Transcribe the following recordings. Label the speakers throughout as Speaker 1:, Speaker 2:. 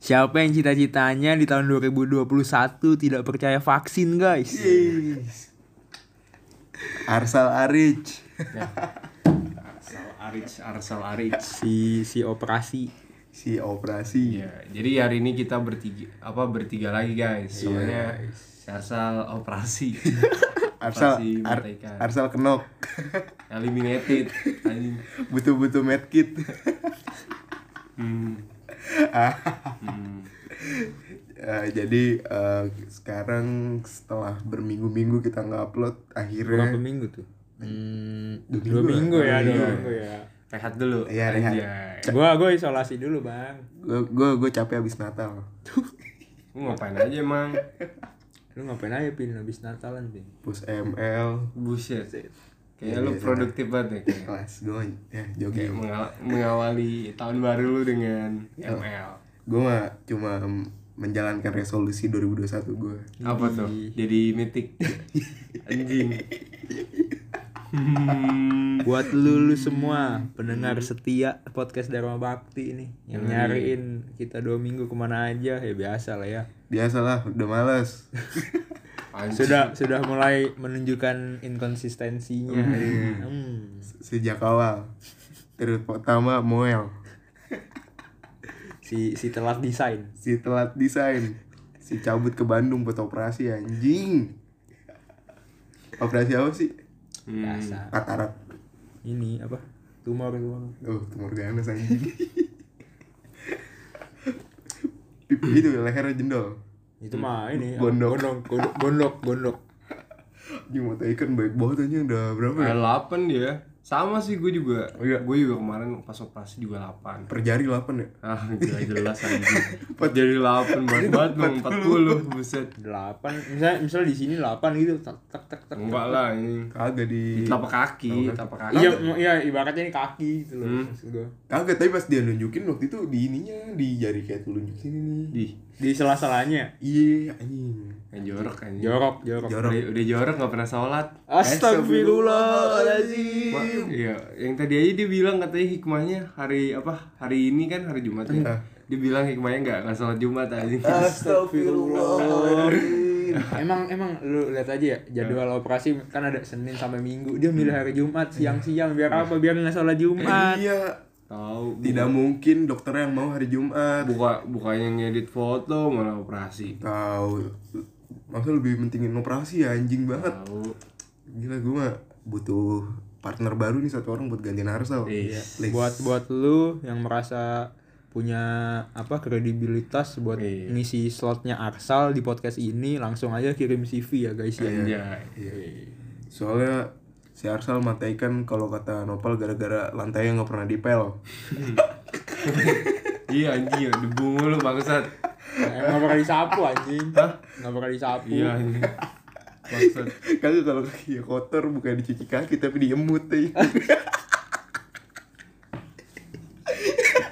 Speaker 1: Siapa yang cita-citanya di tahun 2021 tidak percaya vaksin, guys?
Speaker 2: Yes. Arsal Arich.
Speaker 3: Arsal Arich, Arsal Arich.
Speaker 1: Si si operasi.
Speaker 2: Si operasi.
Speaker 3: Iya, jadi hari ini kita bertiga apa bertiga lagi
Speaker 2: Iya,
Speaker 3: guys. Soalnya si Arsal operasi.
Speaker 2: Arsal
Speaker 3: Operasi
Speaker 2: Ar-
Speaker 3: Merdeka.
Speaker 2: Arsal kenok.
Speaker 3: Eliminated. Anjing.
Speaker 2: Butuh-butuh medkit.
Speaker 3: Hmm.
Speaker 2: Eh, jadi eh, sekarang setelah berminggu-minggu kita nggak upload
Speaker 1: Berapa
Speaker 2: akhirnya
Speaker 1: minggu tuh? Hmm,
Speaker 2: Dua
Speaker 1: dua
Speaker 2: minggu
Speaker 1: minggu
Speaker 2: ya,
Speaker 1: ya,
Speaker 2: dua
Speaker 1: dua
Speaker 2: minggu.
Speaker 1: minggu ya.
Speaker 3: Rehat dulu.
Speaker 2: Iya, rehat.
Speaker 3: Anjay.
Speaker 1: Gua gua isolasi dulu, Bang.
Speaker 2: gue gue capek habis Natal
Speaker 3: Lu ngapain aja emang?
Speaker 1: Lu ngapain aja pin habis Natalan, Pin?
Speaker 2: push ML
Speaker 3: Buset. Kayaknya lu
Speaker 2: Iya, iya.
Speaker 3: produktif banget ya. kayak.
Speaker 2: kelas gue ya
Speaker 3: Kayak
Speaker 2: jogging
Speaker 3: mengal- mengawali tahun baru lu dengan
Speaker 2: Iya.
Speaker 3: ML.
Speaker 2: gue mah cuma menjalankan resolusi 2021 gue
Speaker 3: Apa tuh?
Speaker 2: Iya.
Speaker 3: Jadi mitik. Anjing. Hmm.
Speaker 1: Buat lu, lu semua pendengar setia podcast Dharma Bakti ini yang nyariin kita dua minggu kemana aja ya biasa lah ya.
Speaker 2: biasalah udah males
Speaker 3: Anjing.
Speaker 1: Sudah sudah mulai menunjukkan inkonsistensinya. Hmm.
Speaker 2: sejak awal terutama Moel
Speaker 1: Si si telat desain.
Speaker 2: si telat desain si cabut ke Bandung buat operasi anjing operasi apa sih
Speaker 3: Hmm.
Speaker 1: Biasa.
Speaker 2: katarak
Speaker 1: Ini apa? Tumor tumor.
Speaker 2: oh tumor ganas anjing Pipi itu lehernya jendol
Speaker 1: Itu mah ini apa?
Speaker 2: Gondok.
Speaker 1: gondok gondok gondok, gondok.
Speaker 2: anjing mata ikan baik banget anjing udah berapa ya?
Speaker 3: Ada 8 dia. Sama sih gue juga.
Speaker 2: Oh, iya.
Speaker 3: Gue juga kemarin pas operasi juga 8.
Speaker 2: per jari 8 ya
Speaker 3: Ah, gila jelas anjing. Jadi 8 banget banget dong, 40 buset.
Speaker 1: Delapan. Misalnya misalnya di sini delapan gitu. Tak tak tak tak.
Speaker 3: Enggak lah ini.
Speaker 2: kagak di
Speaker 3: Telapak kaki, Iya. telapak kaki.
Speaker 1: Iya, iya ibaratnya ini kaki gitu loh maksud gua.
Speaker 2: kagak tapi pas dia nunjukin waktu itu di ininya di jari kayak tuh nunjukin ini
Speaker 3: Di,
Speaker 1: Di sela-selanya.
Speaker 2: iya anjing
Speaker 3: yang jorok anjing.
Speaker 1: Jorok, jorok.
Speaker 2: jorok
Speaker 3: Udah, udah jorok nggak pernah sholat.
Speaker 1: Astagfirullahaladzim.
Speaker 3: Wah, iya, yang tadi aja dia bilang katanya hikmahnya hari apa? Hari ini kan hari Jumat ya. Dia bilang hikmahnya nggak nggak sholat Jumat anjing.
Speaker 1: Astagfirullahaladzim. emang emang lu lihat aja ya jadwal operasi kan ada Senin sampai Minggu dia milih hari Jumat siang-siang biar apa biar nggak sholat Jumat
Speaker 2: iya
Speaker 3: Tahu. bu-
Speaker 2: tidak mungkin dokter yang mau hari Jumat
Speaker 3: Buka bukannya ngedit foto malah operasi.
Speaker 2: tahu maksudnya lebih pentingin operasi ya anjing banget
Speaker 3: Tahu.
Speaker 2: gila gue mah butuh partner baru nih satu orang buat gantiin Arsal
Speaker 3: Iya.
Speaker 2: Please.
Speaker 1: buat buat lu yang merasa punya apa kredibilitas buat
Speaker 3: Iya.
Speaker 1: ngisi slotnya Arsal di podcast ini langsung aja kirim CV ya guys
Speaker 3: Iya,
Speaker 1: ya
Speaker 3: Anjay.
Speaker 2: soalnya si Arsal mata ikan kalau kata Nopal gara-gara lantainya nggak pernah dipel
Speaker 3: Iya anjing, ya, debu mulu bangsat.
Speaker 1: Emang pernah disapu anjing Gak pernah disapu
Speaker 3: Iya anjing. Bangsat.
Speaker 2: kagak kalau kaki kan, iya, kotor bukan dicuci kaki tapi diemut iya. deh
Speaker 1: Anjing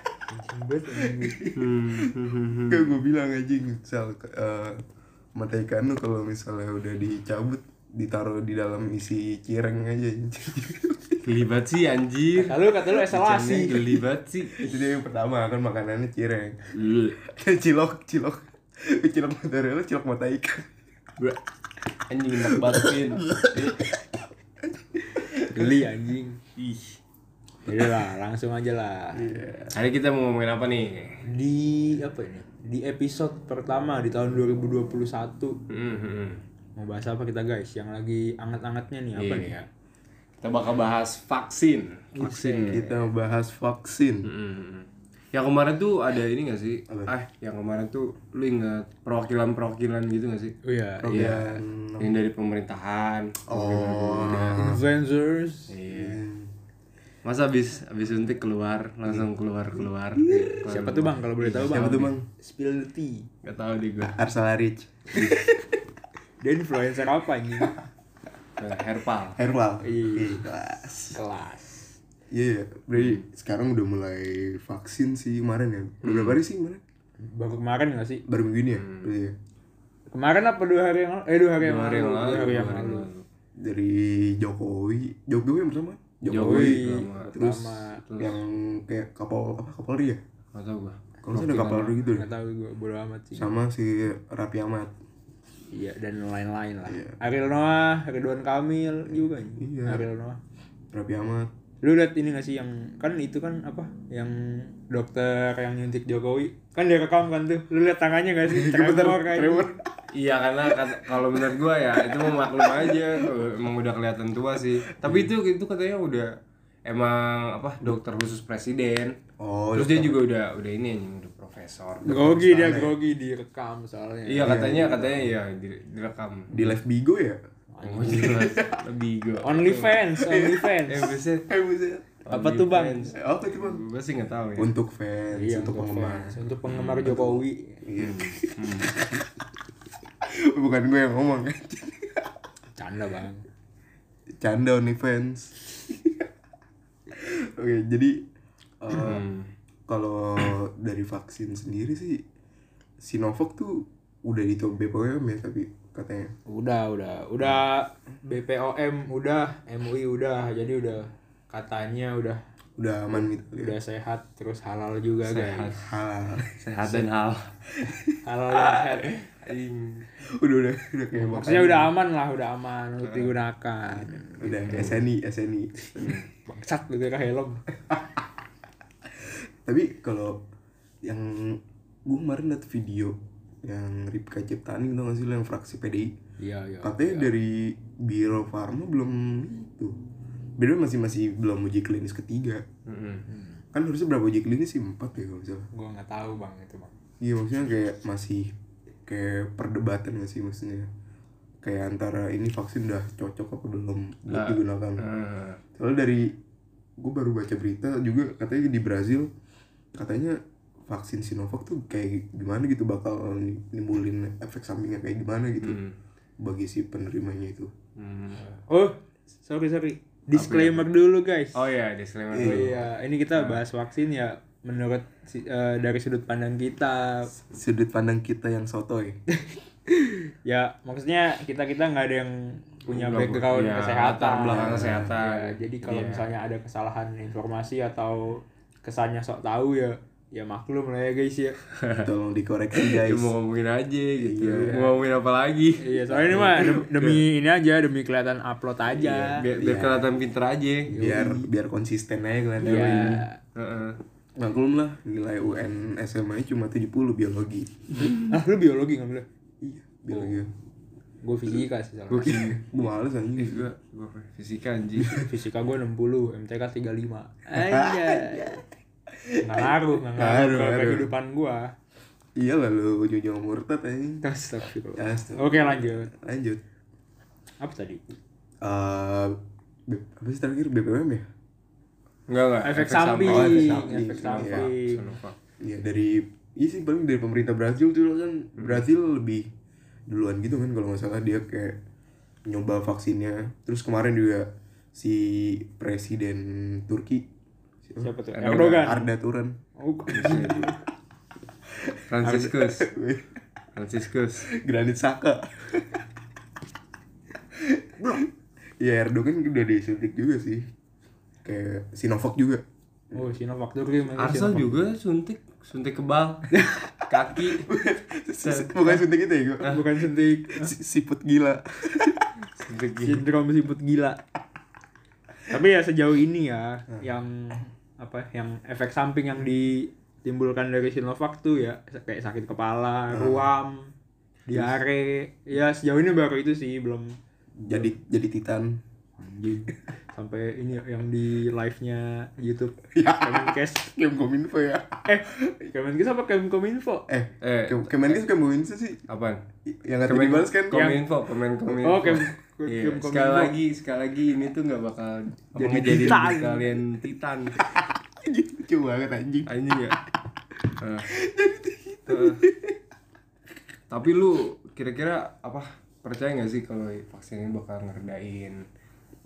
Speaker 1: banget, anjing.
Speaker 3: Hmm.
Speaker 2: kayak gue bilang anjing sal eh, mata ikan lu kalau misalnya udah dicabut ditaruh di dalam isi cireng aja anjing.
Speaker 3: Geli banget sih anjir.
Speaker 1: Lalu kata lu esalasi
Speaker 3: Bercandanya Geli banget sih.
Speaker 2: itu dia yang pertama kan makanannya cireng
Speaker 3: Ih.
Speaker 2: cilok cilok cilok mozzarella cilok mata ikan
Speaker 3: Bra. Anjing enak banget Vin.
Speaker 1: Geli anjing
Speaker 3: Ih.
Speaker 1: Yaudah lah langsung aja lah
Speaker 3: Hari kita mau ngomongin apa nih?
Speaker 1: Di apa ini? Di episode pertama di tahun 2021
Speaker 3: Hmm, hmm, hmm.
Speaker 1: Mau bahas apa kita guys? Yang lagi anget-angetnya nih apa nih? ya?
Speaker 3: Iya. Kita bakal bahas vaksin. Vaksin.
Speaker 2: kita bahas vaksin
Speaker 3: Hmm. Yang kemarin tuh ada ini gak sih?
Speaker 2: Apa?
Speaker 3: Ah, yang kemarin tuh lu inget perwakilan-perwakilan gitu gak sih?
Speaker 1: Oh iya
Speaker 3: Iya. Yang dari pemerintahan.
Speaker 2: oh
Speaker 1: Influencers
Speaker 3: Iya. Masa abis abis suntik keluar langsung keluar keluar.
Speaker 1: Siapa tuh bang kalau boleh tahu bang?
Speaker 2: Siapa tuh, Bang?
Speaker 1: Spill the tea
Speaker 3: Gak tau deh gue.
Speaker 2: Arsala Rich
Speaker 1: Dia influencer apa anjing?
Speaker 3: Herpal.
Speaker 2: Herbal
Speaker 1: Iya.
Speaker 2: kelas
Speaker 1: Kelas
Speaker 2: iya berarti sekarang udah mulai vaksin sih kemarin ya udah berapa hari sih kemarin
Speaker 1: Baru kemarin gak sih?
Speaker 2: baru minggu ini ya berarti ya?
Speaker 1: Kemarin apa dua hari yang lalu? Eh dua hari yang
Speaker 3: Dua hari
Speaker 1: lalu
Speaker 3: yang
Speaker 1: Dua
Speaker 3: lalu.
Speaker 1: hari yang
Speaker 3: dua hari yang
Speaker 1: lalu
Speaker 3: lalu.
Speaker 2: dari Jokowi Jokowi yang pertama
Speaker 3: Jokowi,
Speaker 2: Jokowi
Speaker 3: pertama.
Speaker 2: terus
Speaker 1: pertama.
Speaker 2: yang kayak kapol apa kapolri ya
Speaker 3: Gak tau gue.
Speaker 2: Kalau ada kapal gitu deh.
Speaker 1: Nggak tahu gue bodo amat sih.
Speaker 2: Sama si Raffi Ahmad.
Speaker 1: Iya dan lain-lain lah. Ariel Noah, Ridwan Kamil juga nih. Ariel Noah.
Speaker 2: Raffi Ahmad.
Speaker 1: Lu lihat ini gak sih yang kan itu kan apa yang dokter yang nyuntik Jokowi kan dia rekam kan tuh lu lihat tangannya gak sih tremor kayak
Speaker 3: Iya karena kat- kalau menurut gua ya itu mau maklum aja kalau emang udah kelihatan tua sih. Tapi itu itu katanya udah emang apa dokter khusus presiden.
Speaker 2: Oh,
Speaker 3: Terus dia juga udah udah ini anjing udah profesor.
Speaker 1: grogi dia grogi direkam soalnya
Speaker 3: Iya katanya katanya ya di- direkam.
Speaker 2: di Live Bigo ya?
Speaker 3: Oh jelas lebih gua.
Speaker 1: only fans only
Speaker 3: Eh
Speaker 1: fans
Speaker 3: buset.
Speaker 2: Eh, buset.
Speaker 1: apa tuh bang
Speaker 2: Eh, Apa itu bang?
Speaker 3: Gue sih nggak tahu ya.
Speaker 2: Untuk fans, Iya, untuk penggemar.
Speaker 1: Iya,
Speaker 2: Hmm,
Speaker 1: untuk penggemar gitu. Jokowi
Speaker 2: Iya. Bukan gue yang ngomong kan.
Speaker 1: canda bang
Speaker 2: Canda only fans. Oke, jadi eh,
Speaker 1: Hmm.
Speaker 2: kalau dari vaksin sendiri sih Sinovac tuh udah di top BPOM ya tapi katanya.
Speaker 1: udah udah udah BPOM udah MUI udah jadi udah katanya udah
Speaker 2: udah aman gitu ya.
Speaker 1: udah sehat terus halal juga guys
Speaker 2: halal
Speaker 3: Sehat dan hal.
Speaker 1: halal dan sehat
Speaker 2: udah udah udah kayak makan
Speaker 1: maksudnya udah aman lah udah aman untuk digunakan
Speaker 2: udah
Speaker 1: gitu.
Speaker 2: SNI SNI
Speaker 1: bangsat lu kira helm
Speaker 2: tapi kalau yang gue kemarin liat video yang Ripka Ciptani tau gak sih lo yang fraksi PDI
Speaker 1: iya iya
Speaker 2: katanya dari Biro Farma belum itu beda masih masih belum uji klinis ketiga kan harusnya berapa uji klinis sih empat ya kalau misalnya
Speaker 1: gua nggak tahu bang itu bang
Speaker 2: Iya maksudnya kayak masih kayak perdebatan gak sih maksudnya kayak antara ini vaksin udah cocok apa belum buat
Speaker 1: Ah,
Speaker 2: digunakan.
Speaker 3: Nah,
Speaker 2: Soalnya dari gue baru baca berita juga katanya di Brazil katanya vaksin Sinovac tuh kayak gimana gitu bakal nimbulin efek sampingnya kayak gimana gitu
Speaker 1: Hmm.
Speaker 2: bagi si penerimanya itu.
Speaker 1: oh sorry sorry disclaimer dulu guys
Speaker 3: Oh ya disclaimer dulu.
Speaker 1: iya ini kita
Speaker 2: Nah.
Speaker 1: bahas vaksin ya menurut si- eh, dari sudut pandang kita
Speaker 2: Sudut pandang kita yang sotoy.
Speaker 1: ya maksudnya kita kita nggak ada yang punya background
Speaker 3: iya,
Speaker 1: kesehatan
Speaker 3: latar belakang
Speaker 1: Ya,
Speaker 3: kesehatan.
Speaker 1: jadi kalau misalnya ada kesalahan informasi atau kesannya sok tahu ya ya maklum lah ya guys ya
Speaker 2: Tolong dikoreksi
Speaker 3: Ya
Speaker 2: guys.
Speaker 3: mau ngomongin aja gitu. Mau ngomongin apa lagi? Iya,
Speaker 1: iya soalnya ini mah dem- demi ya. Iya. ini aja demi kelihatan upload aja
Speaker 3: Biar, biar kelihatan pinter aja.
Speaker 1: Iya.
Speaker 3: Gitu.
Speaker 2: Biar biar konsisten aja kalian.
Speaker 1: ya
Speaker 3: Heeh.
Speaker 2: Maklum lah nilai UN SMA cuma 70 biologi.
Speaker 1: ah lu biologi nggak boleh
Speaker 2: Iya, biologi.
Speaker 1: gue fisika sih soalnya
Speaker 3: Oke.
Speaker 2: Gue gitu. males anjing.
Speaker 3: Gua gua fisika anjing.
Speaker 1: fisika gue 60 MTK 35 aja nggak ngaruh nggak ngaruh ke
Speaker 2: Ngaruh, ngaruh.
Speaker 1: kehidupan gue
Speaker 2: Iya lah lu ujung-ujung murtad anjing.
Speaker 1: Astagfirullah.
Speaker 2: Astagfirullah.
Speaker 1: Oke lanjut.
Speaker 2: Lanjut.
Speaker 1: Apa tadi?
Speaker 2: Eh, B- apa sih terakhir BPOM ya?
Speaker 3: Enggak enggak.
Speaker 1: Efek samping. iya.
Speaker 2: samping.
Speaker 1: Efek
Speaker 2: Oh,
Speaker 1: samping.
Speaker 2: efek samping. Iya dari iya sih paling dari pemerintah Brazil dulu kan Brazil lebih duluan gitu kan kalau nggak salah dia kayak nyoba vaksinnya. Terus kemarin juga si presiden Turki
Speaker 1: Siapa
Speaker 2: siapa?
Speaker 1: tuh?
Speaker 3: Erdogan.
Speaker 1: Erdogan.
Speaker 2: Arda Turan.
Speaker 1: Oh,
Speaker 3: Franciscus. Franciscus.
Speaker 2: Granit Saka. Bro. Ya Erdogan udah disuntik juga sih. Kayak Sinovac juga.
Speaker 1: oh Sinovac Turki mana
Speaker 3: Arsa
Speaker 1: Sinovac?
Speaker 3: juga suntik suntik kebal. Kaki
Speaker 2: Bukan suntik itu ya gue.
Speaker 1: Bukan suntik.
Speaker 2: Si- Siput gila.
Speaker 3: suntik gini.
Speaker 1: Sindrom siput gila. Tapi ya sejauh ini ya yang apa yang efek samping yang ditimbulkan dari Sinovac tuh ya kayak sakit kepala, ruam, diare. Ya sejauh ini baru itu sih belum
Speaker 2: Jadi jadi Titan.
Speaker 1: anjing sampai ini ya, yang di live-nya YouTube Kemenkes.
Speaker 2: Kemkominfo ya.
Speaker 1: Eh, Kemenkes apa Kemkominfo?
Speaker 2: Eh,
Speaker 3: Eh,
Speaker 2: Ke- Kemenkes Kemenkes sih
Speaker 3: apaan?
Speaker 2: yang kata dibales kan.
Speaker 3: Kominfo, pemain
Speaker 1: Oh,
Speaker 3: Kominfo.
Speaker 1: Kem-
Speaker 3: Iya,
Speaker 1: Kem-
Speaker 3: sekali
Speaker 1: Kominfo.
Speaker 3: lagi, sekali lagi ini tuh nggak bakal
Speaker 1: Jadi
Speaker 3: jadi jadi
Speaker 1: Titan.
Speaker 3: kalian Titan.
Speaker 2: Gitu, Lucu banget anjing.
Speaker 3: Anjing ya. Eh. Eh. Tapi lu kira-kira apa percaya nggak sih kalau vaksin ini bakal ngeredain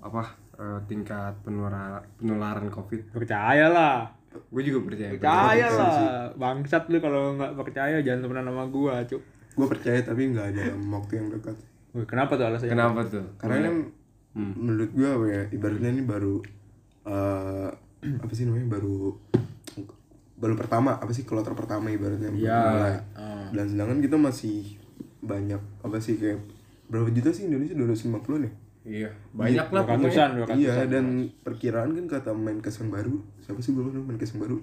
Speaker 3: apa eh, tingkat penularan penularan covid?
Speaker 1: Percayalah.
Speaker 3: Gue juga percaya.
Speaker 1: Percaya lah. Bangsat lu kalau nggak percaya jangan temenan sama gua, Cuk.
Speaker 2: Gue percaya tapi nggak ada dalam waktu yang dekat.
Speaker 1: Wih, kenapa tuh alasannya?
Speaker 3: Kenapa tuh?
Speaker 1: Iya.
Speaker 2: Karena kan
Speaker 1: Hmm.
Speaker 2: menurut gue apa ya ibaratnya ini baru eh apa sih namanya baru baru pertama apa sih kloter pertama ibaratnya baru
Speaker 1: Iya.
Speaker 2: mulai.
Speaker 1: Ah.
Speaker 2: dan sedangkan kita masih banyak apa sih kayak berapa juta sih Indonesia 250 nih
Speaker 3: Iya, banyak lah
Speaker 1: Dua
Speaker 3: pokoknya.
Speaker 1: ratusan, kan, dua ratusan.
Speaker 2: iya dan perkiraan kan kata Menkes yang baru siapa sih gue lupa nama Menkes yang baru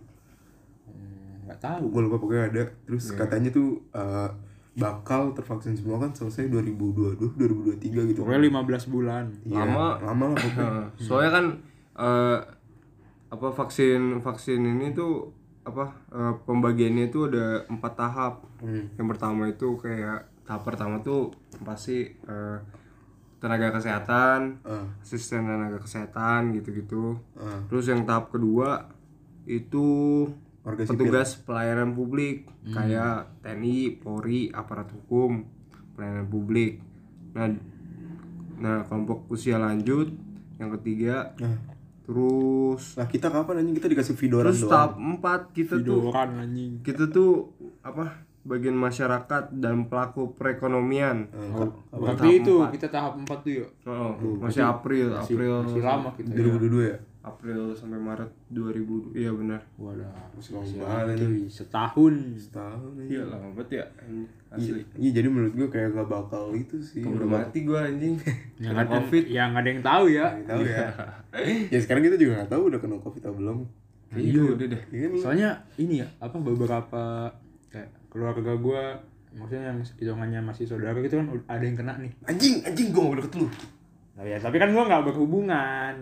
Speaker 3: Hmm,
Speaker 1: Nggak tahu.
Speaker 2: gue lupa pokoknya ada
Speaker 3: Iya.
Speaker 2: terus katanya tuh eh, bakal tervaksin semua kan selesai 2022 2023 gitu
Speaker 1: Pokoknya 15 bulan.
Speaker 2: Iya,
Speaker 3: Lama.
Speaker 2: lama lah pokoknya
Speaker 3: Heeh. Soalnya kan eh, apa vaksin vaksin ini tuh apa eh, pembagiannya itu ada empat tahap. Yang pertama itu kayak tahap pertama tuh pasti eh, tenaga kesehatan,
Speaker 2: Ah,
Speaker 3: asisten tenaga kesehatan gitu-gitu.
Speaker 2: ah.
Speaker 3: Terus yang tahap kedua itu
Speaker 2: warga sipil
Speaker 3: petugas pelayanan publik kayak TNI, Polri, aparat hukum, pelayanan publik. Nah, nah kelompok usia lanjut yang ketiga,
Speaker 2: nah,
Speaker 3: terus
Speaker 2: lah kita kapan anjing kita dikasih vidoran
Speaker 3: terus
Speaker 2: doang
Speaker 3: tahap empat kita tuh
Speaker 1: Tiduran anjing.
Speaker 3: kita tuh apa bagian masyarakat dan pelaku perekonomian.
Speaker 2: Eh,
Speaker 1: Oh,
Speaker 2: ka-
Speaker 1: berarti
Speaker 3: tahap
Speaker 1: itu
Speaker 3: empat.
Speaker 1: kita tahap 4 tuh yuk.
Speaker 3: Oh, masih April,
Speaker 1: Masih,
Speaker 3: April,
Speaker 1: masih lama kita.
Speaker 3: Iya.
Speaker 1: ya.
Speaker 2: 2022 ya
Speaker 3: April sampai Maret 2000. Iya benar.
Speaker 1: Waduh,
Speaker 2: Masih lama
Speaker 1: masih
Speaker 2: banget
Speaker 1: lagi. setahun.
Speaker 2: setahun
Speaker 3: Iya
Speaker 2: iya
Speaker 3: lama banget ya.
Speaker 2: iya iya, jadi menurut gue kayak gak bakal itu sih
Speaker 3: Udah mati gua anjing.
Speaker 1: Yang
Speaker 3: Kena
Speaker 1: ada,
Speaker 3: Covid. Nah,
Speaker 1: yang ada yang tahu ya.
Speaker 2: Nggak tahu ya ya sekarang kita juga gak tahu udah kena covid atau belum
Speaker 3: Iya udah deh.
Speaker 2: iya kan?
Speaker 1: Soalnya ini ya, apa beberapa kayak keluarga gua maksudnya yang hitungannya masih saudara gitu kan ud- ada yang kena nih.
Speaker 2: anjing anjing gue mau deket lu
Speaker 1: Nah, ya, tapi kan gua nggak berhubungan.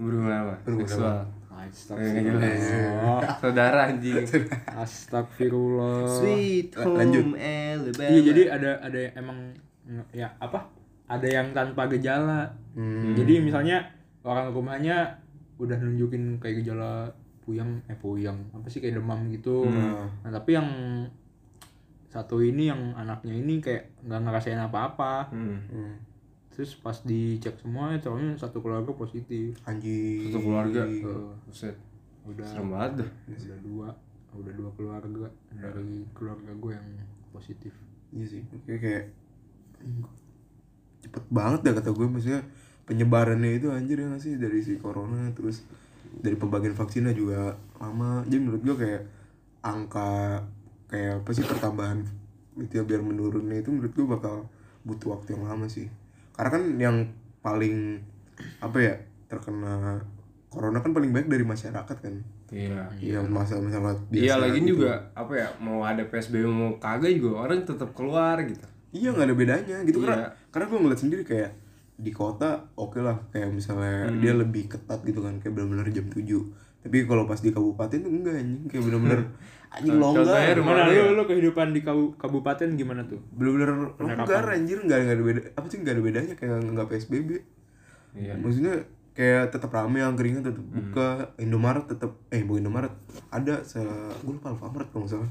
Speaker 3: Berhubungan apa?
Speaker 2: Berhubungan
Speaker 3: Seksual.
Speaker 1: Astagfirullah.
Speaker 3: Saudara anjing. Oh.
Speaker 1: Astagfirullah.
Speaker 3: Sweet
Speaker 2: home Lanjut.
Speaker 3: Alabama.
Speaker 1: Iya jadi ada ada yang emang nge- ya apa? Ada yang tanpa gejala.
Speaker 2: Hmm.
Speaker 1: Jadi misalnya orang rumahnya udah nunjukin kayak gejala puyeng eh puyeng apa sih kayak demam gitu. Nah, tapi yang satu ini yang anaknya ini kayak nggak ngerasain apa-apa.
Speaker 3: Hmm.
Speaker 2: Hmm.
Speaker 1: Terus pas dicek semua soalnya satu keluarga positif.
Speaker 2: anjing
Speaker 3: Satu keluarga.
Speaker 1: Eh,
Speaker 3: Buset.
Speaker 1: udah
Speaker 3: Serem banget dah.
Speaker 1: udah dua udah dua keluarga dari keluarga gue yang positif.
Speaker 2: iya sih kayak kayak cepet banget dah kata gue maksudnya penyebarannya itu anjir ya nggak sih dari si corona terus dari pembagian vaksinnya juga lama jadi menurut gue kayak angka kayak apa sih pertambahan itu ya biar menurunnya itu menurut gue bakal butuh waktu yang lama sih karena kan yang paling apa ya terkena corona kan paling banyak dari masyarakat kan
Speaker 3: Iya.
Speaker 2: iya masalah masalah biasa
Speaker 3: Iya lagi
Speaker 2: gitu.
Speaker 3: juga apa ya mau ada PSBB mau kagak juga orang tetap keluar gitu.
Speaker 2: Iya nggak ada bedanya gitu
Speaker 3: Iya.
Speaker 2: karena karena gue ngeliat sendiri kayak di kota oke lah kayak misalnya
Speaker 3: Hmm.
Speaker 2: dia lebih ketat gitu kan kayak benar-benar jam 7 tapi kalau pas di kabupaten tuh enggak anjing kayak benar-benar anjing
Speaker 3: Contohnya
Speaker 2: longgar
Speaker 3: rumah
Speaker 1: Gimana
Speaker 3: lu ya?
Speaker 1: lu, lu kehidupan di kabu- kabupaten gimana tuh?
Speaker 2: benar-benar longgar anjir nggak nggak ada beda apa sih nggak ada bedanya kayak nggak psbb
Speaker 3: Iya. Hmm.
Speaker 2: maksudnya kayak tetap rame angkringan tetap buka Indomaret tetap eh bukan Indomaret ada se gue lupa Alfamart kalau nggak salah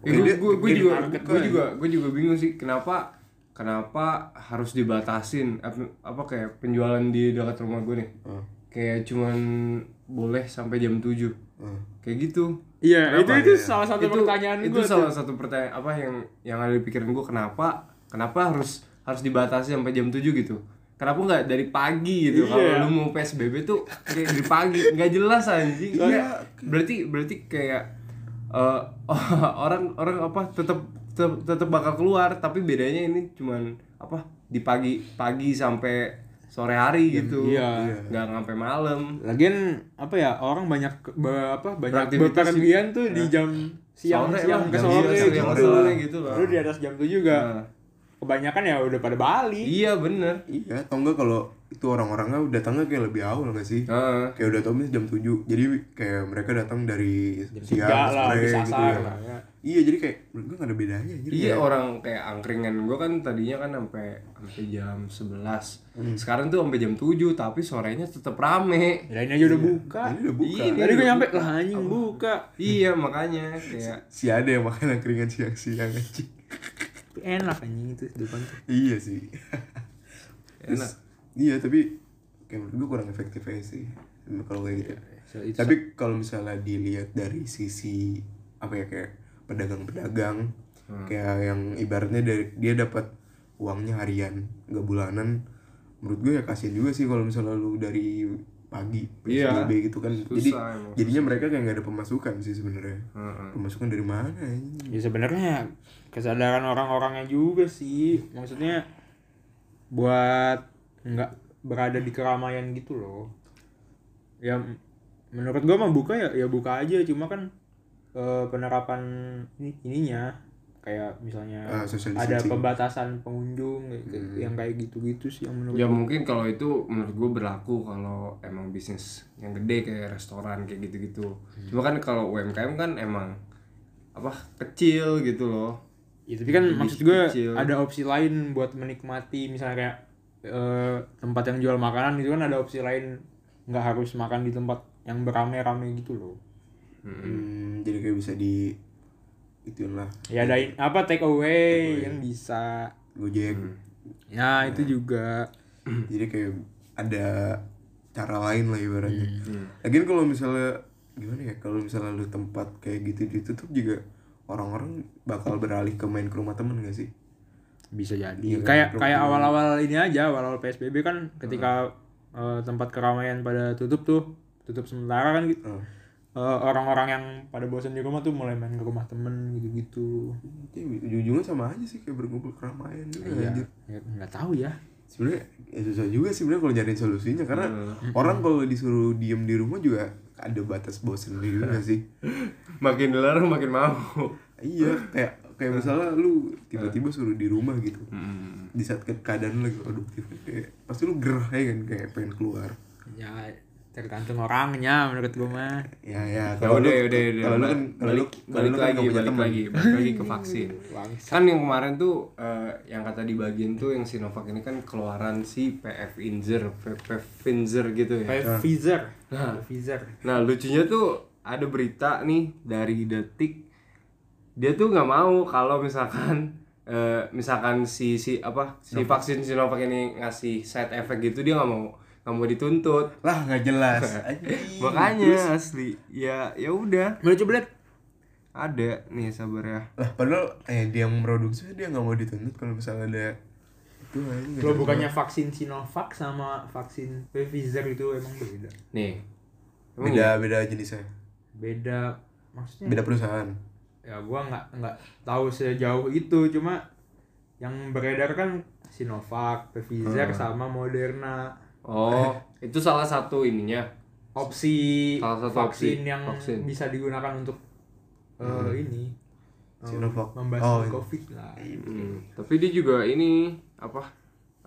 Speaker 2: Kayak
Speaker 3: gue
Speaker 2: dia-
Speaker 3: gue
Speaker 1: dia
Speaker 3: juga
Speaker 1: target
Speaker 3: gue juga gue juga bingung sih kenapa kenapa harus dibatasin apa, apa kayak penjualan di dekat rumah gue nih
Speaker 2: Heeh.
Speaker 3: kayak cuman boleh sampai jam 7
Speaker 2: Heeh.
Speaker 3: kayak gitu
Speaker 1: Iya, itu
Speaker 3: Kenapa?
Speaker 1: itu salah satu pertanyaan
Speaker 3: itu
Speaker 1: gue.
Speaker 3: salah satu pertanyaan apa yang yang ada di pikiran gue kenapa kenapa harus harus dibatasi sampai jam 7 gitu kenapa nggak dari pagi
Speaker 1: Iya.
Speaker 3: gitu kalau lu mau psbb tuh kayak dari pagi nggak jelas anjing
Speaker 2: Iya.
Speaker 3: berarti berarti kayak eh, orang orang apa tetap tetap tetap bakal keluar tapi bedanya ini cuman apa di pagi pagi sampai sore hari gitu
Speaker 1: Iya.
Speaker 3: nggak sampai malam
Speaker 1: Lagian apa ya orang banyak ke- be- apa banyak
Speaker 3: Beraktivitas
Speaker 1: bepergian tuh di jam siang
Speaker 3: Sore
Speaker 1: siang
Speaker 3: lah,
Speaker 1: ke ya.
Speaker 3: jam
Speaker 1: sore
Speaker 3: siang,
Speaker 1: gitu.
Speaker 3: siang ke sore gitu lah.
Speaker 1: Lu di atas jam 7 juga.
Speaker 3: Nah,
Speaker 1: Kebanyakan ya udah pada Bali.
Speaker 3: iya bener
Speaker 2: iya atau enggak kalau itu orang-orangnya datangnya kayak lebih awal nggak sih
Speaker 3: Heeh.
Speaker 2: kayak udah tau mis jam 7 jadi kayak mereka datang dari siang
Speaker 1: Tiga lah
Speaker 2: sore
Speaker 1: habis
Speaker 2: gitu
Speaker 1: asar
Speaker 2: ya.
Speaker 1: lah ya.
Speaker 2: iya jadi kayak menurut gue gak ada bedanya jadi
Speaker 3: Iya
Speaker 2: kayak,
Speaker 3: orang kayak angkringan gue kan tadinya kan sampai sampai jam 11. Sekarang tuh sampai jam 7 tapi sorenya tetap rame.
Speaker 1: Lain aja udah buka.
Speaker 2: ini udah buka
Speaker 3: Iya.
Speaker 1: Tadi gue
Speaker 3: udah
Speaker 1: nyampe lah anjing buka.
Speaker 3: Iya makanya kayak
Speaker 2: si ada yang makan angkringan siang-siang anjing
Speaker 1: Tapi Enak anjing itu depan tuh.
Speaker 2: iya sih Terus,
Speaker 3: enak.
Speaker 2: iya tapi kayak menurut gue kurang efektif aja sih kalau kayak
Speaker 3: Iya,
Speaker 2: gitu
Speaker 1: So, itu
Speaker 2: tapi kalau misalnya dilihat dari sisi apa ya kayak pedagang-pedagang
Speaker 3: Hmm.
Speaker 2: kayak yang ibaratnya dari dia dapat uangnya harian nggak bulanan menurut gue ya kasian juga sih kalau misalnya lu dari pagi
Speaker 3: Iya.
Speaker 2: PSBB gitu kan
Speaker 3: Susah Hmm.
Speaker 2: jadi
Speaker 3: emang,
Speaker 2: jadinya mereka kayak nggak ada pemasukan sih sebenarnya
Speaker 3: Heeh.
Speaker 2: pemasukan dari mana ini
Speaker 1: Ya sebenarnya kesadaran orang-orangnya juga sih. Maksudnya buat nggak berada di keramaian gitu loh. Ya m- menurut gua mah buka ya ya buka aja cuma kan eh, penerapan ini- ininya kayak
Speaker 2: Ah,
Speaker 1: misalnya
Speaker 2: social
Speaker 1: ada
Speaker 2: distancing. Hmm.
Speaker 1: pembatasan pengunjung kayak- kayak- yang kayak gitu-gitu sih yang menurut
Speaker 3: Ya mungkin kalau itu menurut gue berlaku kalau emang bisnis yang gede kayak restoran kayak gitu-gitu. Cuma kan kalau UMKM kan emang apa kecil gitu loh.
Speaker 1: Ya, tapi kan
Speaker 3: Lebih
Speaker 1: maksud gue
Speaker 3: kecil.
Speaker 1: ada opsi lain buat menikmati misalnya kayak eh, tempat yang jual makanan itu kan ada opsi lain nggak harus makan di tempat yang berame-rame gitu loh.
Speaker 2: Hmm, jadi kayak bisa di ituin lah
Speaker 1: Ya ada in- apa take away yang bisa.
Speaker 2: gojek
Speaker 1: Ya itu juga.
Speaker 2: jadi kayak ada cara lain lah ibaratnya lagian kalau misalnya gimana ya kalau misalnya lu tempat kayak gitu ditutup juga orang-orang bakal beralih ke main ke rumah temen gak sih
Speaker 1: bisa jadi
Speaker 2: Iya,
Speaker 1: kayak
Speaker 2: kan,
Speaker 1: kayak
Speaker 2: problem.
Speaker 1: awal-awal ini aja awal-awal psbb kan ketika eh, tempat keramaian pada tutup tuh tutup sementara kan gitu
Speaker 2: Heeh.
Speaker 1: Eh, orang-orang yang pada bosan di rumah tuh mulai main ke rumah temen gitu-gitu
Speaker 2: Ya, ujung-ujungnya sama aja sih kayak berkumpul keramaian juga gitu, anjir.
Speaker 1: ya nggak tahu ya
Speaker 2: sebenarnya ya susah juga sih sebenarnya kalau nyariin solusinya karena orang kalau disuruh diem di rumah juga ada batas bosen juga gak sih
Speaker 3: Makin dilarang makin mau.
Speaker 2: iya kayak kayak misalnya lu tiba-tiba suruh di rumah gitu
Speaker 3: Hmm.
Speaker 2: di saat ke- keadaan lu lagi produktif kayak pasti lu gerah ya kan kayak pengen keluar
Speaker 1: ya tergantung orangnya menurut gue mah
Speaker 2: ya ya
Speaker 3: Ya
Speaker 2: kalau
Speaker 3: udah,
Speaker 2: lu-
Speaker 3: ya udah, ya udah.
Speaker 2: kalau lu kan kalau lu
Speaker 3: balik,
Speaker 2: kalau
Speaker 3: balik
Speaker 2: lu kan
Speaker 3: lagi,
Speaker 2: nggak punya
Speaker 3: balik
Speaker 2: teman
Speaker 3: lagi, balik lagi ke vaksin. kan yang kemarin tuh eh, yang kata di bagian tuh yang Sinovac ini kan keluaran si PF Inzer, PF Inzer gitu ya.
Speaker 1: kayak Pfizer
Speaker 3: Nah.
Speaker 1: Pfizer
Speaker 3: Nah lucunya tuh ada berita nih dari detik dia tuh nggak mau kalau misalkan eh, misalkan si si apa si vaksin Sinovac ini ngasih side effect gitu dia nggak mau nggak mau dituntut
Speaker 2: lah nggak jelas Anjing.
Speaker 3: makanya asli ya ya udah
Speaker 1: mau coba lihat
Speaker 3: ada nih sabar ya
Speaker 2: lah padahal eh dia yang memproduksi dia nggak mau dituntut kalau misalnya ada itu aja nggak
Speaker 1: lo
Speaker 2: jelas.
Speaker 1: bukannya vaksin Sinovac sama vaksin Pfizer itu emang beda
Speaker 3: nih Emang
Speaker 2: beda beda jenisnya
Speaker 1: beda maksudnya
Speaker 2: beda perusahaan
Speaker 1: ya gua nggak nggak tahu sejauh itu cuma yang beredar kan Sinovac, Pfizer sama Moderna
Speaker 3: oh itu salah satu ininya
Speaker 1: opsi
Speaker 3: Salah satu
Speaker 1: vaksin
Speaker 3: opsi,
Speaker 1: yang
Speaker 3: vaksin.
Speaker 1: bisa digunakan untuk eh, ini eh,
Speaker 2: Sinovac. Oh,
Speaker 1: membasmi
Speaker 2: iya.
Speaker 1: covid lah
Speaker 3: Hmm, tapi dia juga ini apa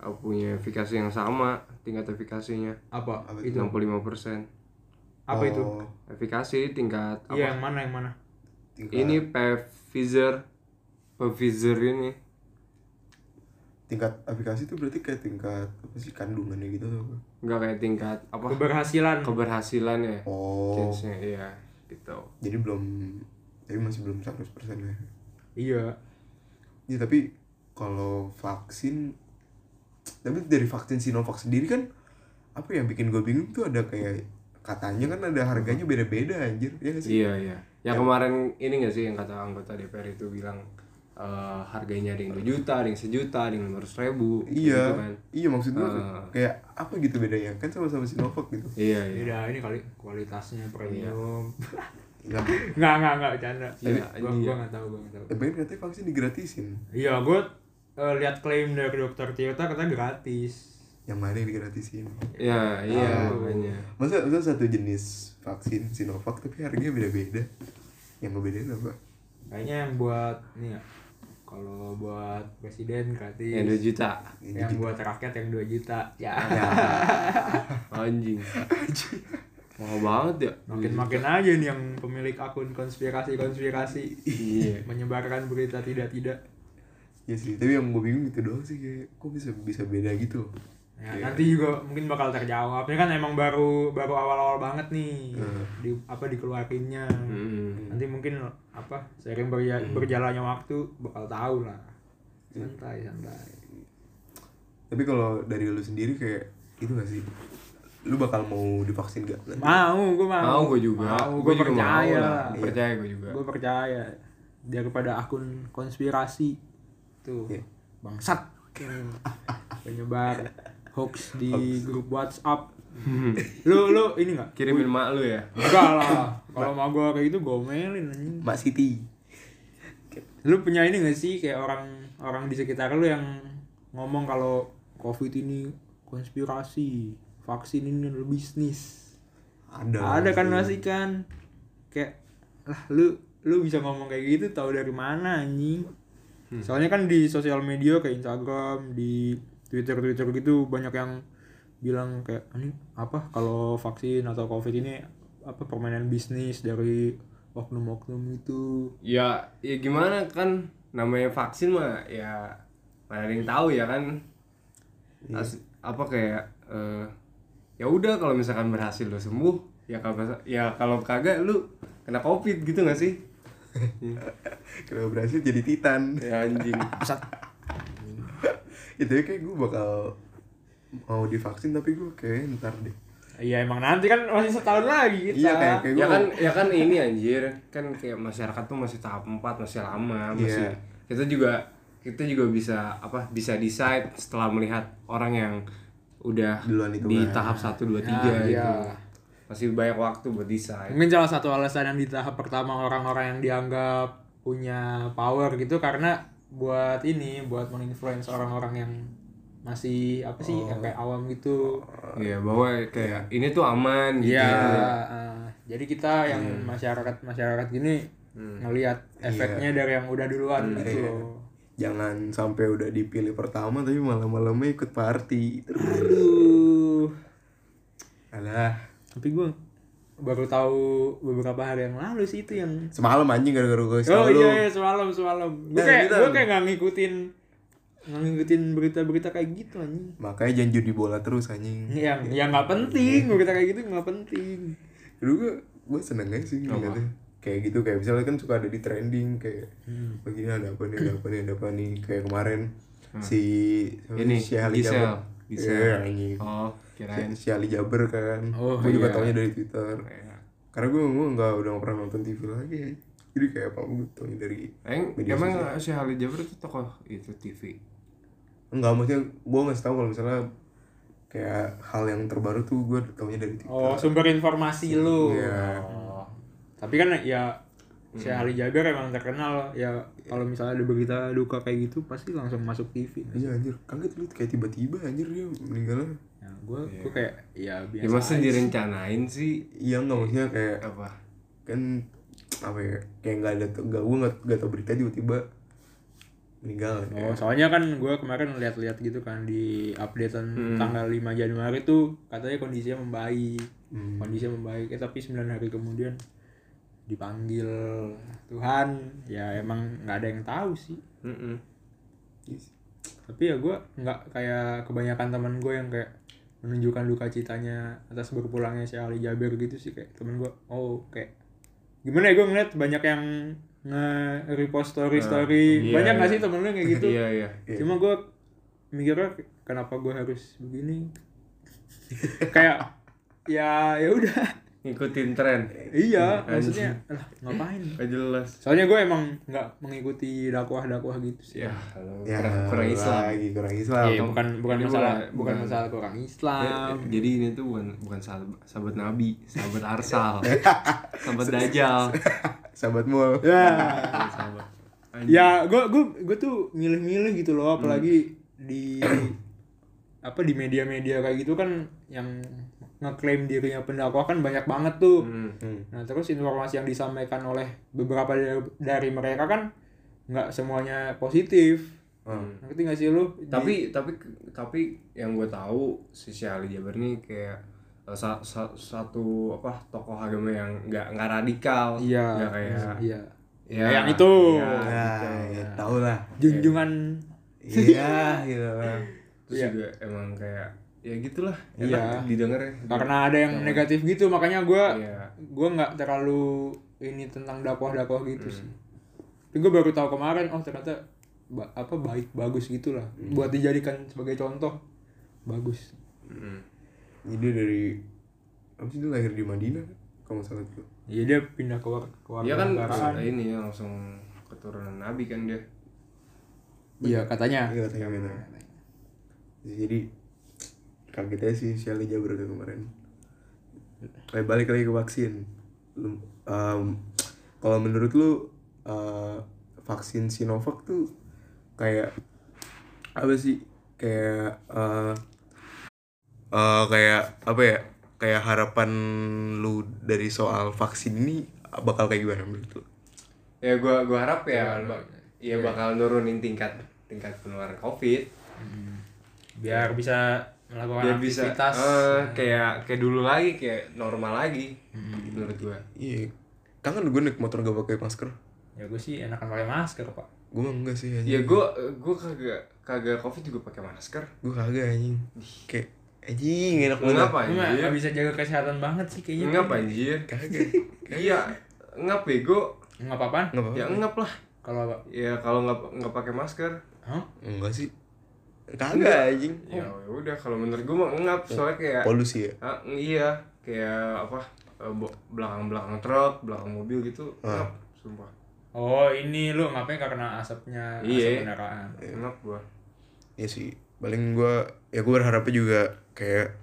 Speaker 3: eh, punya efikasi yang sama tingkat efikasinya
Speaker 1: apa
Speaker 2: Apa
Speaker 1: itu
Speaker 3: 65%
Speaker 1: apa itu
Speaker 2: Oh,
Speaker 3: efikasi tingkat apa
Speaker 1: iya yang mana yang mana
Speaker 2: tingkat, ini
Speaker 3: ini Pfizer Pfizer ini
Speaker 2: tingkat aplikasi itu berarti kayak tingkat apa sih kandungannya gitu atau apa?
Speaker 3: nggak kayak tingkat apa
Speaker 1: keberhasilan
Speaker 3: keberhasilan ya
Speaker 2: oh
Speaker 3: chance-nya iya gitu
Speaker 2: jadi belum tapi masih belum 100% ya
Speaker 1: iya
Speaker 2: ya tapi kalau vaksin tapi dari vaksin Sinovac sendiri kan apa yang bikin gue bingung tuh ada kayak katanya kan ada harganya beda-beda anjir ya nggak sih
Speaker 3: Hmm. iya iya yang kemarin ini nggak sih yang kata anggota DPR itu bilang eh, harganya ada yang 2 juta ada yang sejuta ada yang 500 ribu
Speaker 2: iya
Speaker 3: gitu kan
Speaker 2: iya maksud gue
Speaker 3: Ah.
Speaker 2: kayak apa gitu bedanya kan sama-sama Sinovac gitu
Speaker 3: iya iya
Speaker 1: beda ini kali kualitasnya premium
Speaker 2: ya,
Speaker 1: nggak nggak nggak canda
Speaker 3: Iya,
Speaker 1: gua
Speaker 3: iya.
Speaker 1: gua nggak tahu gua nggak tahu
Speaker 2: tapi kan katanya vaksin digratisin
Speaker 1: iya gua eh, lihat klaim dari dokter Tirta katanya gratis
Speaker 2: yang mana yang digratisin
Speaker 3: iya iya
Speaker 1: Tahu.
Speaker 3: makanya.
Speaker 2: masa, masa satu jenis vaksin Sinovac tapi harganya beda-beda yang ngebedain apa
Speaker 1: kayaknya yang buat nih ya kalau buat presiden gratis
Speaker 3: yang 2 juta
Speaker 2: ini
Speaker 1: yang buat rakyat yang 2 juta ya
Speaker 3: anjing mahal banget ya
Speaker 1: makin makin aja nih yang pemilik akun konspirasi konspirasi
Speaker 3: iya
Speaker 1: menyebarkan berita tidak tidak
Speaker 2: ya sih tapi yang gue bingung itu doang sih kayak kok bisa bisa beda gitu
Speaker 1: ya,
Speaker 3: Iya.
Speaker 2: Kayak-
Speaker 1: nanti juga mungkin bakal terjawab ini kan emang baru baru awal awal banget nih
Speaker 2: Hmm.
Speaker 1: di apa dikeluarinnya
Speaker 3: Mm-mm.
Speaker 1: nanti mungkin apa sering berja-
Speaker 3: Hmm.
Speaker 1: berjalannya waktu bakal tahu lah santai santai
Speaker 2: tapi kalau dari lu sendiri kayak itu gak sih lu bakal mau divaksin gak
Speaker 1: mau gue mau
Speaker 3: mau gue juga
Speaker 1: mau gue
Speaker 3: gue juga mau
Speaker 1: percaya Iya.
Speaker 3: lah percaya gue juga
Speaker 1: gue percaya daripada akun konspirasi tuh
Speaker 2: Iya.
Speaker 1: bangsat yang penyebar hoax di grup WhatsApp
Speaker 3: Hmm.
Speaker 1: lu lu ini nggak
Speaker 3: Kirimin mak lu ya.
Speaker 1: enggak lah kalau mau gua kayak gitu gomelin anjing
Speaker 2: Mbak Siti
Speaker 1: lu punya ini gak sih kayak orang orang di sekitar lu yang ngomong kalau covid ini konspirasi vaksin ini adalah bisnis
Speaker 2: ada
Speaker 1: ada kan masih kan kayak lah lu lu bisa ngomong kayak gitu tahu dari mana anjing soalnya kan di sosial media kayak Instagram di Twitter Twitter gitu banyak yang bilang kayak ini apa kalau vaksin atau covid ini apa permainan bisnis dari oknum-oknum itu
Speaker 3: Ya, ya gimana kan namanya vaksin mah ya mana ada yang tahu ya kan.
Speaker 1: Iya.
Speaker 3: As- apa kayak eh, ya udah kalau misalkan berhasil lu sembuh ya kalau ya kalau kagak lu kena covid gitu gak sih?
Speaker 2: Kalau berhasil jadi Titan
Speaker 3: Ya anjing.
Speaker 2: Itu kayak gue bakal Mau divaksin tapi gue kayak ntar deh
Speaker 1: Iya emang nanti kan masih setahun lagi kita.
Speaker 2: Iya kayak, kayak gue
Speaker 3: ya kan ya kan ini anjir kan kayak masyarakat tuh masih tahap 4 masih lama
Speaker 2: Iya.
Speaker 3: masih kita juga kita juga bisa apa bisa decide setelah melihat orang yang udah
Speaker 2: Duluan itu
Speaker 3: di
Speaker 2: kan.
Speaker 3: tahap 1 2 3
Speaker 1: Nah,
Speaker 3: gitu.
Speaker 1: iya.
Speaker 3: Masih banyak waktu buat decide.
Speaker 1: Mungkin salah satu alasan yang di tahap pertama orang-orang yang dianggap punya power gitu karena buat ini buat menginfluence orang-orang yang masih apa sih yang kayak awam gitu.
Speaker 3: Iya, bahwa kayak ini tuh aman gitu.
Speaker 1: Iya. eh, jadi kita yang masyarakat masyarakat gini ngelihat efeknya dari yang udah duluan gitu. loh.
Speaker 2: Jangan sampai udah dipilih pertama Tapi malam-malamnya ikut party Terus
Speaker 1: Aduh.
Speaker 2: Alah
Speaker 1: Tapi gue baru tahu beberapa hari yang lalu sih itu yang
Speaker 2: Semalam anjing gara-gara gue
Speaker 1: Oh
Speaker 2: selalu
Speaker 1: iya, iya semalam semalam. Gue
Speaker 2: Nah,
Speaker 1: kayak
Speaker 2: gitu.
Speaker 1: gue kayak nggak ngikutin nggak ngikutin berita-berita kayak gitu anjing.
Speaker 2: Makanya jangan judi bola terus anjing
Speaker 1: Yang yang nggak penting berita kayak gitu nggak penting.
Speaker 2: Dulu gue, gue seneng aja sih ngeliatnya Kayak gitu, kayak misalnya kan suka ada di trending Kayak
Speaker 3: Hmm.
Speaker 2: begini ada apa nih, ada apa nih, ada apa nih Kayak kemarin si siapa sih?
Speaker 3: Hmm. Ini
Speaker 2: si Ali
Speaker 3: Gisel.
Speaker 2: Jaber.
Speaker 3: Gisel.
Speaker 2: Iya, anjing.
Speaker 3: Oh,
Speaker 2: Si,
Speaker 3: kirain.
Speaker 2: si Ali Jaber kan
Speaker 1: Oh,
Speaker 2: Gue juga
Speaker 3: iya.
Speaker 2: taunya dari Twitter Karena gue, gue nggak udah nggak pernah nonton TV lagi Jadi kayak apa gue taunya dari
Speaker 3: Eng,
Speaker 2: Media
Speaker 3: emang si Halil Jaber itu tokoh itu TV.
Speaker 2: Enggak, maksudnya gue ngasih tau kalau misalnya Kayak hal yang terbaru tuh gue taunya dari Twitter
Speaker 1: Oh sumber informasi lu.
Speaker 2: Iya.
Speaker 3: Oh.
Speaker 1: Tapi kan ya si Ali Jaber emang terkenal ya kalau misalnya ada berita duka kayak gitu pasti langsung masuk TV.
Speaker 2: Iya anjir, kaget lu kayak tiba-tiba anjir dia meninggalnya
Speaker 1: Ya, gue gue kayak ya biasa.
Speaker 3: Ya masa
Speaker 1: aja.
Speaker 3: direncanain sih
Speaker 2: Iya nggak maksudnya kayak
Speaker 3: apa?
Speaker 2: kan apa ya kayak nggak ada nggak gue nggak nggak tahu berita tiba-tiba meninggal
Speaker 3: Iya.
Speaker 2: kan.
Speaker 1: Oh, soalnya kan gue kemarin lihat-lihat gitu kan di updatean
Speaker 3: Hmm.
Speaker 1: tanggal 5 Januari tuh katanya kondisinya membaik.
Speaker 3: Hmm.
Speaker 1: Kondisinya membaik, eh, tapi 9 hari kemudian dipanggil Tuhan. Ya emang nggak ada yang tahu sih.
Speaker 3: Mm-mm.
Speaker 2: Yes.
Speaker 1: Tapi ya gue nggak kayak kebanyakan teman gue yang kayak menunjukkan duka citanya atas berpulangnya si Ali Jaber gitu sih kayak temen gue. Oh, kayak gimana ya gue ngeliat banyak yang nge-repost story-story.
Speaker 3: iya,
Speaker 1: banyak nggak
Speaker 3: iya.
Speaker 1: sih temen lu yang kayak gitu?
Speaker 3: Iya iya.
Speaker 1: Cuma gue mikirnya kenapa gue harus begini? Kayak ya ya udah.
Speaker 3: Ngikutin tren.
Speaker 1: Iya,
Speaker 3: kan.
Speaker 1: maksudnya lah ngapain?
Speaker 3: Gak jelas.
Speaker 1: Soalnya gue emang nggak mengikuti dakwah-dakwah gitu sih.
Speaker 3: Ya, kalau
Speaker 2: Ya,
Speaker 3: kurang, kurang Islam.
Speaker 2: lagi kurang Islam.
Speaker 1: Iya, bukan bukan
Speaker 3: Jadi ya?
Speaker 1: masalah
Speaker 3: bukan-
Speaker 1: bukan
Speaker 3: bukan-
Speaker 1: masalah kurang Islam.
Speaker 3: Ya, Jadi ini tuh bukan bukan sahabat, sahabat Nabi, sahabat Arsal, sahabat Dajjal,
Speaker 2: Sahabat mall.
Speaker 1: Ya,
Speaker 3: sahabat. Anjing.
Speaker 1: ya gue gue gue tuh milih-milih gitu
Speaker 3: Hmm.
Speaker 1: loh, apalagi di apa di media-media kayak gitu kan yang ngeklaim dirinya pendakwah kan banyak banget tuh.
Speaker 3: Hmm.
Speaker 1: Nah terus informasi yang disampaikan oleh beberapa dari, dari mereka kan nggak semuanya positif. Ngerti nggak sih lu? Di-
Speaker 3: Tapi tapi tapi yang gue tahu si Syekh Ali Jaber nih kayak eh, sa- sa- satu apa tokoh agama yang nggak nggak radikal,
Speaker 1: iya,
Speaker 3: nggak kayak
Speaker 1: iya. gitu.
Speaker 3: ya,
Speaker 1: Yang itu.
Speaker 3: ya.
Speaker 2: Ya, ya tau lah.
Speaker 1: Junjungan
Speaker 2: Iya, gitu lah.
Speaker 3: terus
Speaker 1: Iya.
Speaker 3: juga emang kayak ya gitulah
Speaker 1: Iya.
Speaker 3: enak didengar ya
Speaker 1: karena ada yang negatif gitu makanya gua
Speaker 3: Iya.
Speaker 1: gua nggak terlalu ini tentang dakwah-dakwah gitu
Speaker 3: Hmm.
Speaker 1: sih. Tapi gue baru tahu kemarin oh ternyata ba- apa baik bagus gitulah
Speaker 3: Hmm.
Speaker 1: buat dijadikan sebagai contoh bagus.
Speaker 3: Mm.
Speaker 2: Jadi dari apa sih dia lahir di Madinah kan? Kalau nggak salah juga.
Speaker 1: Iya dia pindah ke war- ke warga
Speaker 3: Dia kan
Speaker 1: negaraan.
Speaker 3: ini ya langsung keturunan Nabi kan dia.
Speaker 1: Iya katanya.
Speaker 2: Iya katanya benar. Jadi kagetnya sih Shelly Jabber tuh kemarin Kayak balik lagi ke vaksin Lu- um, kalau menurut lu uh, vaksin Sinovac tuh kayak apa sih kayak uh, uh, kayak apa ya kayak harapan lu dari soal vaksin ini bakal kayak gimana menurut lu?
Speaker 3: ya gua gua harap ya ba- ya bakal nurunin tingkat tingkat penularan covid
Speaker 1: biar bisa melakukan
Speaker 3: biar bisa
Speaker 1: aktivitas
Speaker 3: eh, kayak kayak dulu lagi kayak normal lagi menurut gua
Speaker 2: Iya, kangen gue naik motor gak pakai masker.
Speaker 1: ya gue sih enakan pakai masker pak
Speaker 2: Gue mah enggak sih
Speaker 3: ya
Speaker 2: anjing.
Speaker 3: gua gua kagak kagak covid juga pakai masker
Speaker 2: Gue kagak anjing. Kayak anjing enak
Speaker 3: Lu Iya.
Speaker 2: banget.
Speaker 3: ngapa
Speaker 1: gue mah
Speaker 3: anjir
Speaker 1: nggak bisa jaga kesehatan banget sih kayaknya
Speaker 3: ngap anjir
Speaker 2: Kagak.
Speaker 3: iya ngap bego
Speaker 1: nggak apa-apa
Speaker 2: Enggak apa-apa.
Speaker 3: ya ngap lah
Speaker 1: kalau apa
Speaker 3: ya kalau nggak nggak pakai masker
Speaker 1: Hah?
Speaker 2: Enggak sih. Kagak anjing.
Speaker 3: ya udah kalau menurut gua mah ngap soalnya kayak
Speaker 2: Polusi ya.
Speaker 3: Ah, iya, kayak apa? eh, bo- belakang-belakang truk, belakang mobil gitu.
Speaker 2: Ah.
Speaker 3: Ngap, sumpah.
Speaker 1: oh ini lu ngapain gak kena asapnya asap
Speaker 3: Iya.
Speaker 1: kendaraan
Speaker 3: Ngap gua.
Speaker 2: Ya sih. Paling gue ya gue berharapnya juga kayak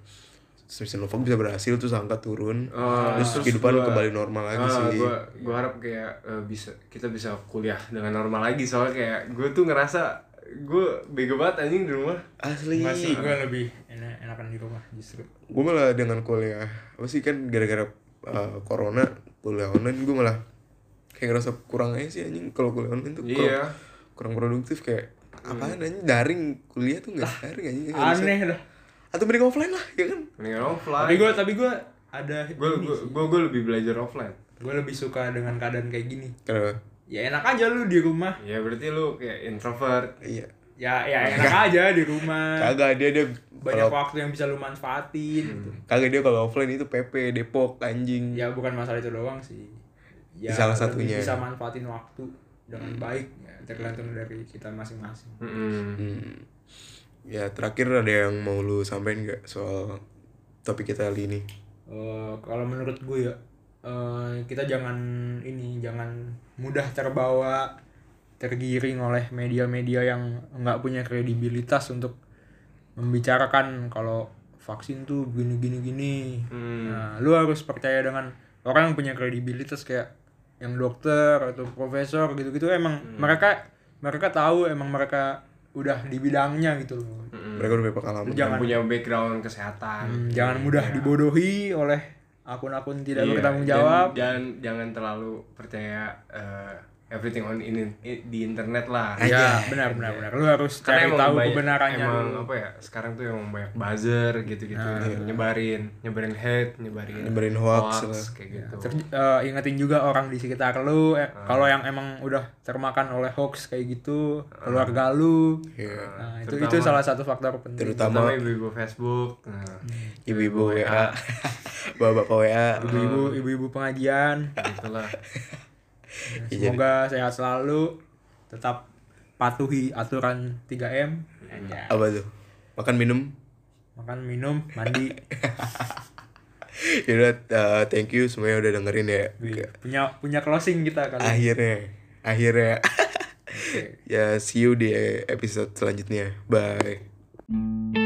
Speaker 2: Sinovac bisa berhasil terus angka turun.
Speaker 3: Ah,
Speaker 2: terus,
Speaker 3: terus
Speaker 2: kehidupan
Speaker 3: gua-
Speaker 2: kembali normal lagi
Speaker 3: Ah,
Speaker 2: sih.
Speaker 3: gua gua harap kayak eh, bisa kita bisa kuliah dengan normal lagi soalnya kayak gue tuh ngerasa gue bego banget anjing di rumah.
Speaker 2: Asli.
Speaker 1: masih gue lebih enak enakan di rumah justru
Speaker 2: gue malah dengan kuliah apa sih kan gara-gara uh, corona kuliah online gue malah kayak ngerasa kurang aja sih anjing kalau kuliah online tuh kurang,
Speaker 3: Iya.
Speaker 2: kurang produktif kayak apaan anjing daring kuliah tuh nggak daring anjing
Speaker 3: Iya,
Speaker 2: nggak bisa.
Speaker 1: Hmm. aneh dah
Speaker 2: atau mending offline lah ya kan
Speaker 3: Mendingan offline.
Speaker 1: tapi gue tapi gue ada
Speaker 3: gue gue gue lebih belajar offline.
Speaker 1: gue lebih suka dengan keadaan kayak gini
Speaker 2: kenapa
Speaker 1: ya enak aja lu di rumah
Speaker 3: Ya berarti lu kayak introvert.
Speaker 2: iya
Speaker 1: ya ya enak aja di rumah
Speaker 2: kagak dia dia
Speaker 1: Nah. banyak
Speaker 2: kalau
Speaker 1: waktu yang bisa lu manfaatin gitu.
Speaker 2: kagak dia kalau offline itu PP Depok anjing
Speaker 1: ya bukan masalah itu doang sih ya
Speaker 2: Hmm. Salah
Speaker 1: lebih
Speaker 2: satunya. Hmm.
Speaker 1: bisa manfaatin waktu dengan baik ya, tergantung dari kita masing-masing
Speaker 3: Mm-mm.
Speaker 2: Hmm. ya terakhir ada yang mau lu sampein nggak soal topik kita kali ini
Speaker 1: Eh, kalau menurut gue ya eh, kita jangan ini jangan mudah terbawa tergiring oleh media-media yang nggak punya kredibilitas untuk membicarakan kalau vaksin tuh begini gini gini
Speaker 3: Hmm.
Speaker 1: nah lu harus percaya dengan orang yang punya kredibilitas kayak yang dokter atau profesor gitu-gitu emang
Speaker 3: Hmm.
Speaker 1: mereka mereka tahu emang mereka udah di bidangnya gitu loh
Speaker 2: mereka udah punya pengalaman
Speaker 1: Jangan-
Speaker 3: Yang punya background kesehatan.
Speaker 1: Hmm, jangan mudah dibodohi oleh akun-akun tidak
Speaker 3: Iya,
Speaker 1: bertanggung
Speaker 3: dan-
Speaker 1: jawab.
Speaker 3: Dan, jangan terlalu percaya eh, everything on in, i- di internet lah.
Speaker 1: Ya, benar benar benar. Lu harus
Speaker 3: Iya. Karena
Speaker 1: cari
Speaker 3: emang
Speaker 1: tahu
Speaker 3: banyak-
Speaker 1: kebenarannya
Speaker 3: Emang
Speaker 1: dulu.
Speaker 3: apa ya? Sekarang tuh emang banyak buzzer gitu-gitu
Speaker 1: Ah.
Speaker 3: yang nyebarin, nyebarin hate, nyebarin
Speaker 2: Nyebarin hoax,
Speaker 3: kayak gitu.
Speaker 1: Ter- eh, ingetin juga orang di sekitar lu
Speaker 3: Ah.
Speaker 1: eh, kalau yang emang udah termakan oleh hoax kayak gitu,
Speaker 3: Ah.
Speaker 1: keluarga lu.
Speaker 2: Iya.
Speaker 1: Nah, itu itu salah satu faktor penting.
Speaker 2: terutama
Speaker 3: Terutama ibu-ibu Facebook. Nah,
Speaker 2: Hmm. ibu-ibu WA, bapak-bapak WA,
Speaker 1: Ibu-ibu ibu-ibu pengajian,
Speaker 3: Iya, gitulah.
Speaker 2: Ah, iya,
Speaker 1: semoga sehat selalu. Tetap patuhi aturan 3M. Anjay.
Speaker 2: apa tuh? Makan minum.
Speaker 1: Makan, minum, mandi.
Speaker 2: Yaudah, uh, thank you semuanya udah dengerin ya.
Speaker 1: Wih, punya punya closing kita kan.
Speaker 2: Akhirnya, akhirnya. ya, see you di episode selanjutnya. Bye.